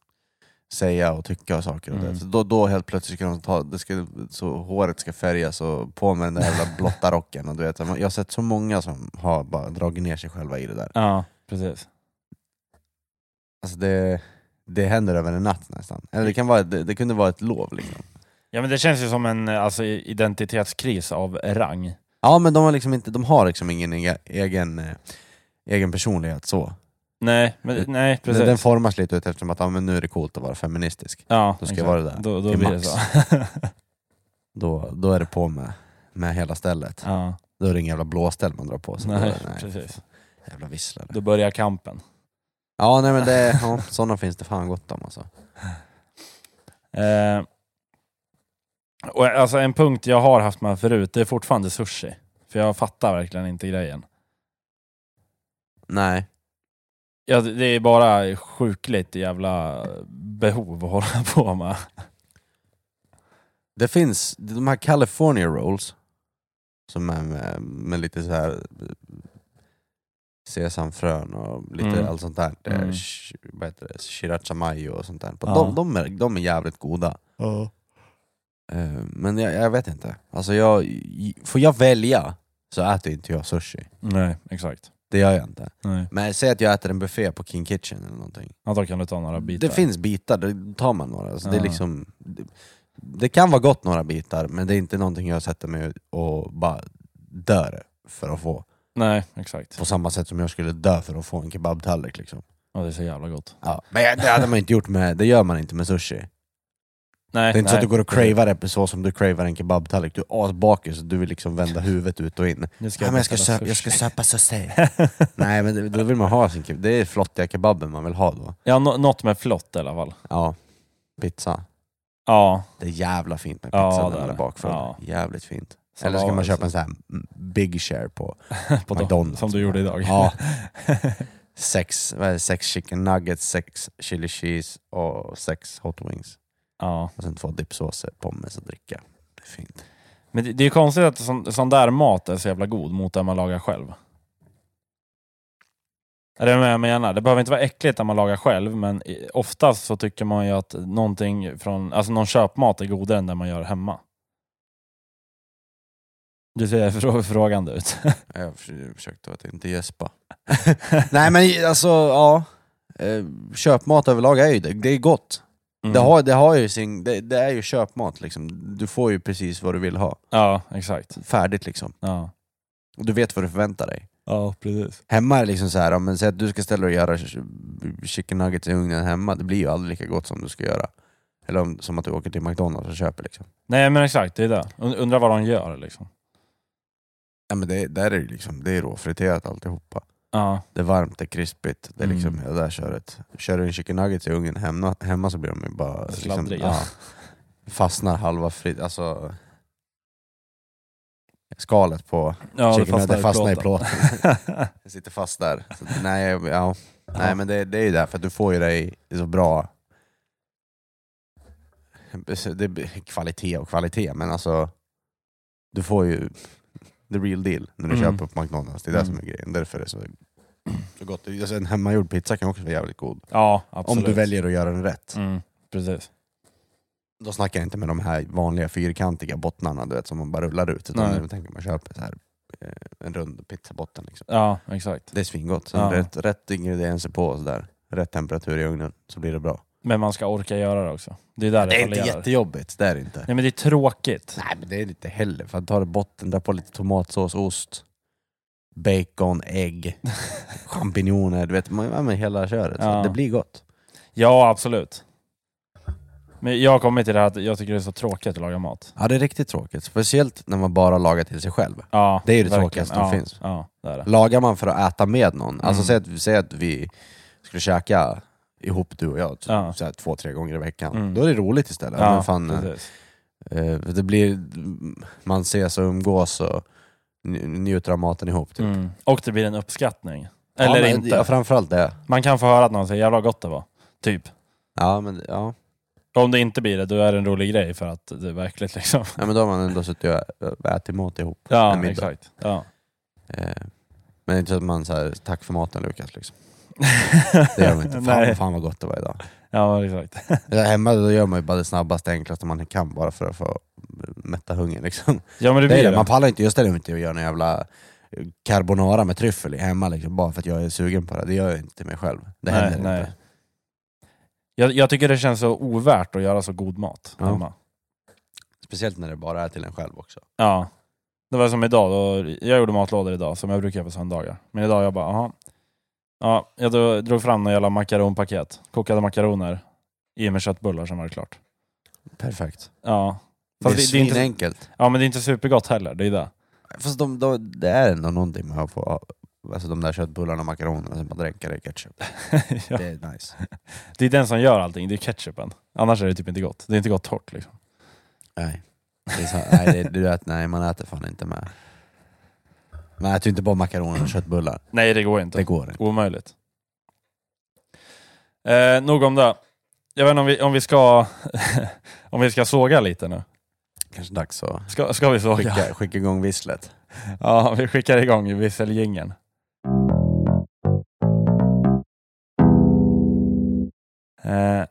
säga och tycka och saker. Och det. Mm. Så då, då helt plötsligt ska de ta, det ska, så håret ska färgas och på med den där jävla blotta rocken. Och du vet, jag har sett så många som har bara dragit ner sig själva i det där. Ja, precis. Alltså det, det händer över en natt nästan. Eller det, kan vara, det, det kunde vara ett lov liksom. Ja, men det känns ju som en eh, alltså, identitetskris av rang. Ja men de har liksom, inte, de har liksom ingen ega- egen, eh, egen personlighet så. Nej, men, nej precis. Den, den formas lite ut eftersom att ja, men nu är det coolt att vara feministisk. ja, Då ska exakt. jag vara det där. Då, då Till blir det max. så. Då, då är det på med, med hela stället. ja, Då är det ingen jävla blåställ man drar på sig. nej, Då- precis. Jävla visslare. Då börjar kampen. Ja nej men det, ja, sådana finns det fan gott om alltså. Eh, och alltså en punkt jag har haft med förut, det är fortfarande sushi. För jag fattar verkligen inte grejen. Nej. Ja, det det är bara sjukligt jävla behov att hålla på med. Det finns de här California rolls, som är med, med lite så här eh, sesamfrön och lite Mm. allt sånt där. Det är Mm. sh- Vad heter det? Sriracha mayo och sånt där. Ja. De, de, är, de är jävligt goda. Eh, Men jag, jag vet inte. Alltså jag, i- får jag välja så äter inte jag sushi. Nej, exakt. Det gör jag inte. Nej. Men säg att jag äter en buffé på King Kitchen eller någonting. Ja, då kan du ta några bitar. Det finns bitar, då tar man några. Alltså, det, är Ja. liksom, det, det kan vara gott några bitar, men det är inte någonting jag sätter mig och bara dör för att få. Nej, exakt. På samma sätt som jag skulle dö för att få en kebabtallrik. Liksom. Ja, det är så jävla gott. Ja. Men det hade man inte gjort med, det gör man inte med sushi. Nej, Det är inte så nej. att du går och cravar det så som du cravar en kebabtallrik. Du är asbakis och du vill liksom vända huvudet ut och in. Nu Ja, men jag, ska beställa söp, jag ska sushi. söpa sushi. Nej men det- då vill man ha sin kebab. Det är flottiga kebaben man vill ha då. Ja, nå- något med flott i alla fall. Ja, pizza. Ja, Det är jävla fint med Ja, pizza det när är den är det. bakfull. Ja. alltså. Jävligt fint. Som Eller ska var- man köpa en sån här mm, big share på, på McDonalds. Som du gjorde idag. Ja. sex, vad är det, sex chicken nuggets, sex chili cheese och sex hot wings. ja. Och sen två dippsåser, pommes och dricka. Det är fint. Men det, det är ju konstigt att sån, sån där mat är så jävla god mot det man lagar själv. Är det vad jag menar? Det behöver inte vara äckligt när man lagar själv, men i- oftast så tycker man ju att någonting från, alltså någon köpmat är godare än det man gör hemma. Du ser frå- frågande ut. Jag förs- försökte att inte gäspa. Nej men alltså, ja. Eh, Köpmat överlag är ju det. Det är gott. Mm. Det, har, det, har ju sin, det, det är ju köpmat liksom. Du får ju precis vad du vill ha. Ja, exakt. Färdigt liksom. Ja, Och du vet vad du förväntar dig. ja precis. Hemma är det liksom så här, om men säg att du ska ställa dig och göra ch- chicken nuggets i ugnen hemma, det blir ju aldrig lika gott som du ska göra. Eller om, som att du åker till McDonalds och köper liksom. Nej men exakt, det är det. Und- Undrar vad de gör liksom. Ja men det, där är det ju liksom, det är råfriterat alltihopa. Ja, Det är varmt, det är krispigt, det är liksom Mm. hela det där köret. Kör du en chicken nuggets i ugnen hemma, hemma så blir de ju bara... Liksom, Sladdriga. ja, fastnar halva frit, alltså... Skalet på ja chicken nuggets, det fastnar i plåten. plåten. Det sitter fast där. Så, att- nej, jag- ja. nej men det, det är ju därför att du får ju det i i så bra det, blir kvalitet och kvalitet, men alltså du får ju the real deal när du Mm. köper på McDonalds. Det är det som är grejen. Därför är det så, så gott. Alltså, en hemmagjord pizza kan också vara jävligt god. ja, absolut. Om du väljer att göra den rätt. Mm, precis. Då snackar jag inte med de här vanliga fyrkantiga bottnarna du vet, som man bara rullar ut. Utan Nej. jag tänker man köper så här, eh, en rund pizzabotten. Liksom. Ja, exakt. Det är svingott. Sen Ja. rätt, rätt ingredienser på och sådär. Rätt temperatur i ugnen så blir det bra. Men man ska orka göra det också. Det är där det, Det är inte fallerar. jättejobbigt, det är det inte. Nej men det är tråkigt. Nej men det är lite heller. För att ta det botten, dra på lite tomatsås, ost, bacon, ägg, champinjoner. Du vet, man, ja, men hela köret. Så Ja. Det blir gott. Ja, absolut. Men jag har kommit till det här att jag tycker det är så tråkigt att laga mat. Ja det är riktigt tråkigt. Speciellt när man bara lagar till sig själv. Ja, Det är ju det verkligen. tråkigaste som ja, finns. Ja, det är det. Lagar man för att äta med någon, alltså Mm. säg att, säg att vi skulle käka ihop du och jag t- Ja. så här, två, tre gånger i veckan. Mm. Då är det roligt istället. Ja, men fan, precis. Eh, Det blir, man ses och umgås och nj- njuter av maten ihop. Typ. Mm. Och det blir en uppskattning. Eller ja, men, inte. Ja, framförallt det. Man kan få höra att någon säger jävla gott det var. Typ. Ja men, ja. Och om det inte blir det, då är det en rolig grej för att det är verkligt liksom. ja, men då har man ändå suttit och ätit mat ihop. en Ja, middag. exakt. Ja. Eh, Men det är inte så att man säger tack för maten Lukas. Liksom. Det gör man inte. Fan, Nej. vad- fan vad gott det var idag. Ja, exakt. Där hemma då gör man ju bara det snabbaste, enklaste man kan bara för att få mätta hungern. Liksom. Ja, men det Det blir är det. det. Man pallar inte, jag ställer mig inte och gör någon jävla carbonara med tryffel i hemma liksom, bara för att jag är sugen på det. Det gör jag inte till mig själv. Det Nej, händer nej. inte. Jag, jag tycker det känns så ovärt att göra så god mat Ja. hemma. Speciellt när det bara är till en själv också. Ja. Det var som idag, då, jag gjorde matlådor idag som jag brukar göra på söndagar. Men idag jag bara, aha. Ja, jag drog- drog fram några jävla makaronpaket, kokade makaroner i med köttbullar som var det klart. Perfekt. Ja. Det är, Fast det- det, det är inte- enkelt. ja, men det är inte supergott heller, det är det. Fast de, de, det är ändå någonting med att få alltså de där köttbullarna och makaronerna som man dränker i ketchup. ja. Det är nice. Det är den som gör allting, det är ketchupen. Annars är det typ inte gott. Det är inte gott torrt liksom. Nej, det är så, nej, det, du vet, nej man äter fan inte med. Man äter ju inte bara makaroner och köttbullar. Nej, det går inte. Det går inte. Omöjligt. Eh, nog om det. Jag vet inte om vi, om vi ska om vi ska såga lite nu. kanske dags att Ska, ska vi såga? skicka, skicka igång visslet. Ja, vi skickar igång visseljingeln. Eh,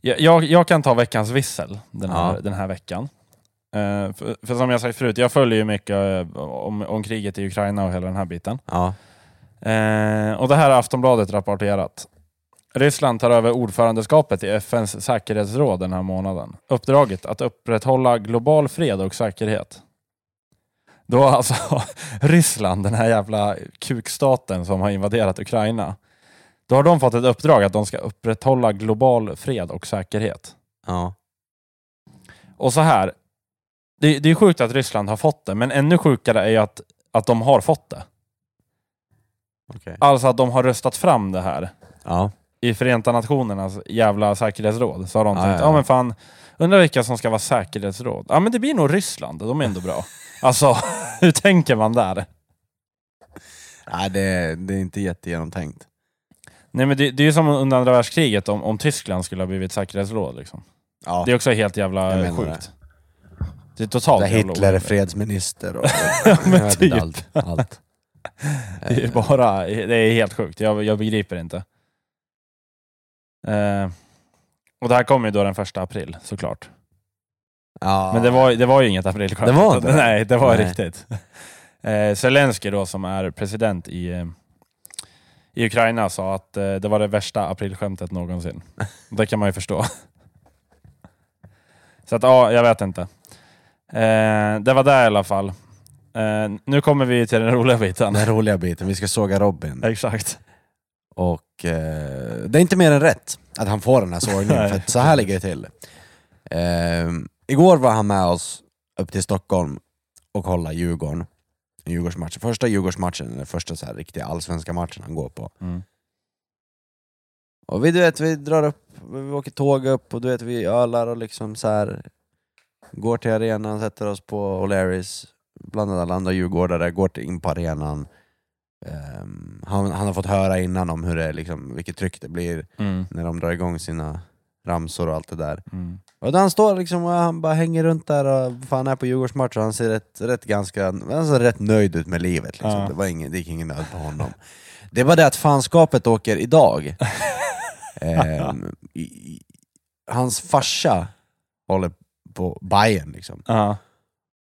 jag- jag, jag kan ta veckans vissel den här, Ja. den här veckan. Eh, för, för som jag sagt förut, jag följer ju mycket eh, om, om kriget i Ukraina och hela den här biten. Ja. Eh, och det här har Aftonbladet rapporterat. Ryssland tar över ordförandeskapet i FNs säkerhetsråd den här månaden. Uppdraget att upprätthålla global fred och säkerhet. Då har alltså Ryssland, den här jävla kukstaten som har invaderat Ukraina, då har de fått ett uppdrag att de ska upprätthålla global fred och säkerhet. ja. Och så här, det, det är sjukt att Ryssland har fått det, men ännu sjukare är ju att, att de har fått det. Okej. Alltså att de har röstat fram det här. Ja. i Förenta Nationernas jävla säkerhetsråd så har de Ah, Ja, tänkt, ja, ja, ja. men fan, undrar vilka som ska vara säkerhetsråd? Ja men det blir nog Ryssland, de är ändå bra. Alltså, hur tänker man där? Nej, det, det är inte jättegenomtänkt. Nej men det, det är ju som under andra världskriget om, om Tyskland skulle ha blivit säkerhetsråd liksom. Ja. Det är också helt jävla Jag menar sjukt. Det är totalt Där jävla Hitler är orimligt. fredsminister och men Jag vet typ. inte allt. allt. Det är ju bara, det är helt sjukt. Jag, jag begriper inte. Eh, och det här kommer ju då den första april såklart. Ja. Men det var, det var ju inget aprilskämt. Det var inte det? Nej, det var Nej. riktigt. Eh, Zelensky då som är president i, eh, i Ukraina sa att eh, det var det värsta aprilskämtet någonsin. det kan man ju förstå. Så att ja, jag vet inte. Eh, det var det i alla fall. Eh, nu kommer vi till den roliga biten. Den roliga biten, vi ska såga Robin. Exakt. Och eh, det är inte mer än rätt att han får den här sågningen, Nej. för att så här ligger det till. Eh, igår var han med oss upp till Stockholm och kollade Djurgården. En Djurgårdsmatch. Första Djurgårdsmatchen, eller första så här riktiga allsvenska matchen han går på. Mm. Och vi, du vet, vi drar upp, vi åker tåg upp och du vet, vi ölar och liksom så här går till arenan, sätter oss på O'Learys, blandar alla andra djurgårdare, går till- in på arenan. Ehm, han, han har fått höra innan om hur det är, liksom, vilket tryck det blir Mm. när de drar igång sina ramsor och allt det där. Mm. Och då han står liksom och han bara hänger runt där och fan är på Djurgårdsmatch och han ser rätt, rätt, ganska, han ser rätt nöjd ut med livet. Liksom. Ja. Det, var ingen, det gick ingen nöd på honom. Det var det att fanskapet åker idag. Ehm, i, i, hans farsa håller på Bayern liksom Ja.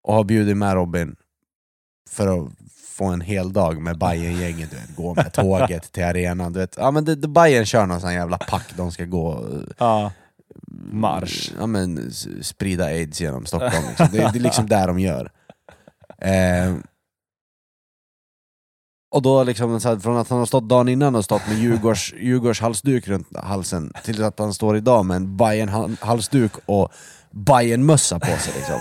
och har bjudit med Robin för att få en hel dag med Bayern-gänget, du vet, gå med tåget till arenan. Du vet. Ja, men det, det, Bayern kör någon sån jävla pack, de ska gå eh, Ja. Marsch. Mm, Ja, men, s- sprida aids genom Stockholm. Liksom. Det, det är liksom där de gör. Eh, och då liksom, så här, från att han har stått dagen innan och stått med Djurgårds, Djurgårds halsduk runt halsen till att han står idag med en Bayern hal- halsduk och bayern mössa på sig. Liksom.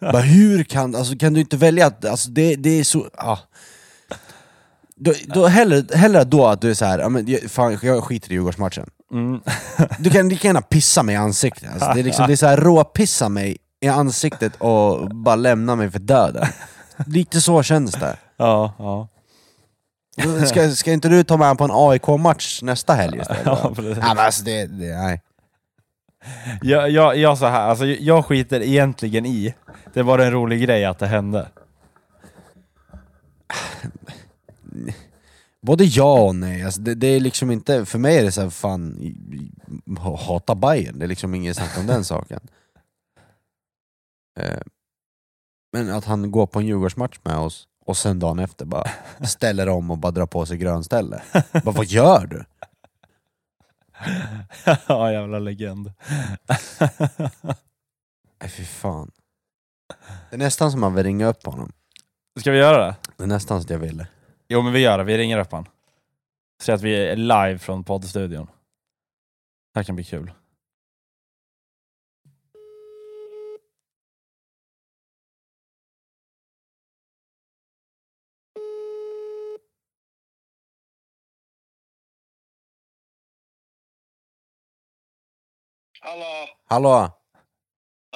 Bara, hur kan, alltså, kan du inte välja att... Alltså, det, det är så... Ah. Då, då hellre, hellre då att du är såhär, ja, men, jag- fan, jag skiter i Djurgårdsmatchen. Mm. Du kan lika gärna pissa mig i ansiktet. Alltså, det är, liksom, det är så här, råpissa mig i ansiktet och bara lämna mig för döden. Lite så känns det. Ja, ja. Ska, ska inte du ta med honom på en AIK-match nästa helg istället? Ja, Ja, precis. men alltså, det, det, nej. Jag, jag, jag så här, alltså, jag skiter egentligen i. Det var en rolig grej att det hände. Både ja och nej. Alltså, det, det är liksom inte, för mig är det så här, fan, hata Bayern. Det är liksom inget snack om den saken. Eh, Men att han går på en Djurgårdsmatch med oss och sen dagen efter bara ställer om och bara drar på sig grönställe. Bara, vad gör du? ja, jävla legend. Nej fy fan. Det är nästan som man vill ringa upp honom. Ska vi göra det? Det är nästan så att jag ville. Jo, men vi gör det. Vi ringer upp han. Så att vi är live från poddstudion. Det här kan bli kul. Hallå? Hallå!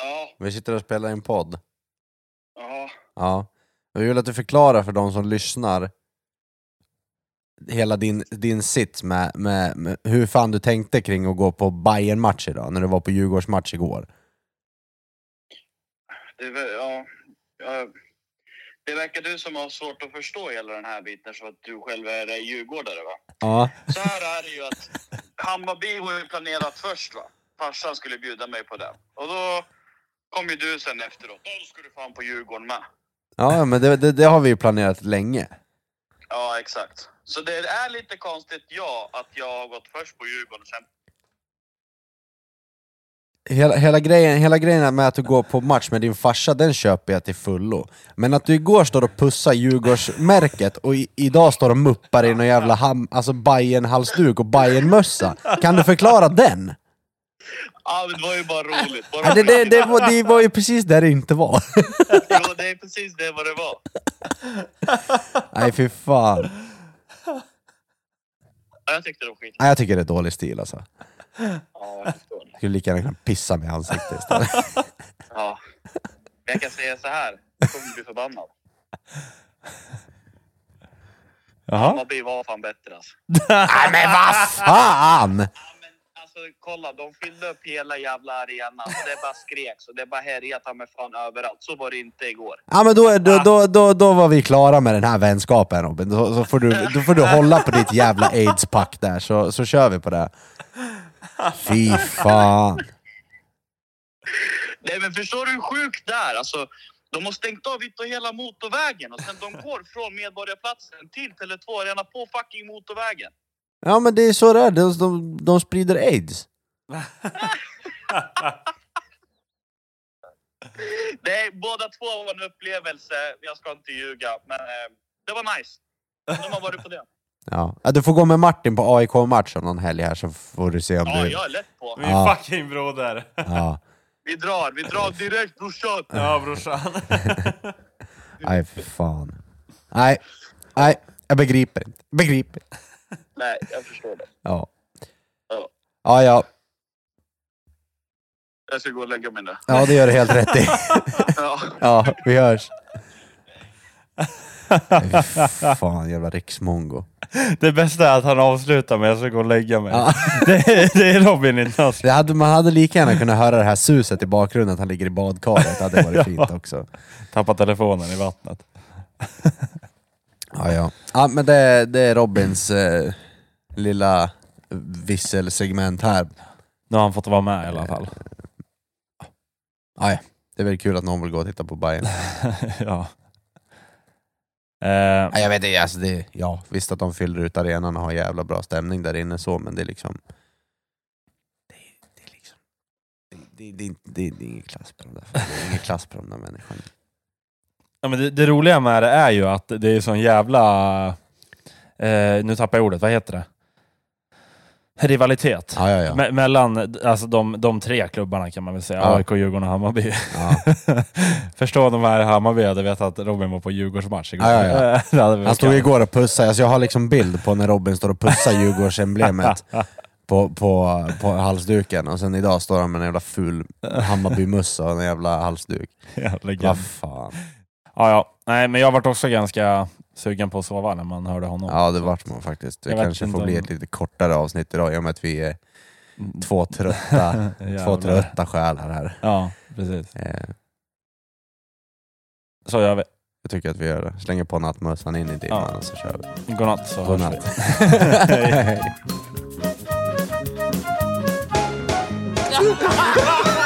Ja, Vi sitter och spelar in podd. ja. Ja. Jag vill att du förklarar för de som lyssnar hela din, din sits med, med, med hur fan du tänkte kring att gå på Bayern match idag, när du var på Djurgårdsmatch igår. Det, ver- ja, ja, det verkar du som har svårt att förstå hela den här biten så att du själv är eh, djurgårdare va? Ja. Så här är det ju att Hammarby var ju planerat först va? Farsan skulle bjuda mig på det. Och då kom ju du sen efteråt. Då ska du fan på Djurgården med. Ja, men det, det, det har vi ju planerat länge. Ja, exakt. Så det är lite konstigt, ja, att jag har gått först på Djurgården och sen Hela, hela, grejen, hela grejen med att du går på match med din farsa, den köper jag till fullo. Men att du igår står och pussar Djurgårdsmärket och i, idag står och muppar i någon jävla ham, alltså Bajen-halsduk och Bajen-mössa. Kan du förklara den? Ja, men det var ju bara roligt. Bara Ja, det, det, roligt. det, var, det var ju precis där det inte var. Jo, det är precis det vad det var. Nej fy fan. Ja, jag tyckte det var skit. Nej, jag tycker det är dålig stil alltså. Ja, jag förstår. Jag skulle lika gärna kunna pissa mig i ansiktet istället. Ja. Men jag kan säga så här, du kommer bli förbannad. Jaha. Hammarby var fan bättre alltså. Nej men vad fan! Ja, men alltså kolla, de fyllde upp hela jävla arenan och det bara skreks och det bara härjade ta mig fan överallt. Så var det inte igår. Ja men då, är- Ah. då, då, då, då var vi klara med den här vänskapen Robin. Då, så får du, då får du hålla på ditt jävla aidspack där så, så kör vi på det. Fy fan. Nej men förstår du hur sjukt det är? Alltså, de har stängt av vitt och hela motorvägen och sen de går från Medborgarplatsen till Tele2 Arena på fucking motorvägen. Ja men det är så det är, de, de, de sprider aids. Nej, båda två var en upplevelse. Jag ska inte ljuga, men eh, det var nice. De har varit på det. Ja. Ja, du får gå med Martin på AIK-matchen någon helg här så får du se om Ja, du... jag är lätt på. Min Ja. fucking broder. Ja. Vi drar, vi drar direkt brorsan. Ja brorsan. Nej för fan. Nej. Nej, jag begriper inte. Begriper inte. Nej, jag förstår det. Ja. Ja. Ja, ja. Jag ska gå och lägga mig nu. Ja, det gör du helt rätt i. Ja. Ja, vi hörs. Nej, fy Fan, jävla riksmongo. Det bästa är att han avslutar med jag ska gå och lägga mig. Ja. Det, det är Robin inte alls. Det hade, man hade lika gärna kunnat höra det här suset i bakgrunden, att han ligger i badkaret. Det hade varit fint också. Tappa telefonen i vattnet. Ja, ja. ja men det, det är Robins eh, lilla visselsegment här. Nu har han fått vara med i alla fall. Ja, ja. Det är väl kul att någon vill gå och titta på Bayern. ja. Eh, Ja, jag vet inte, alltså det, ja, visst att de fyller ut arenan och har jävla bra stämning där inne så, men det är liksom... Det, det är liksom... Det, det, det, det, det är ingen klass på de där, det är ingen klass på de där människorna. ja, men det, det roliga med det är ju att det är sån jävla... Eh, nu tappar jag ordet, vad heter det? Rivalitet. Ja, ja, ja. Me- mellan alltså, de, de tre klubbarna kan man väl säga. Ja. AIK, Djurgården och Hammarby. ja. Förstå om de här i Hammarby hade vetat att Robin var på Djurgårdsmatch igår. Ja, ja, Det hade vi Han väl stod kallat. igår och pussade, alltså jag har liksom bild på när Robin står och pussar Djurgårdsemblemet på, på, på halsduken, och sen idag står han med en jävla ful Hammarbymössa och en jävla halsduk. Jävla gött. Vad fan. Ja, ja. Nej, men jag varit också ganska sugen på att sova när man hörde honom. Ja, det vart man faktiskt. Det Jag vet kanske inte får bli om- ett lite kortare avsnitt idag i och med att vi är två trötta, två Jävlar. trötta själar här. Ja, precis. Eh, Så gör vi. jag tycker att vi gör det. Slänger på nattmössan in i dimman Ja. och så kör vi. Godnatt så hörs vi. Godnatt. Hej. Hej.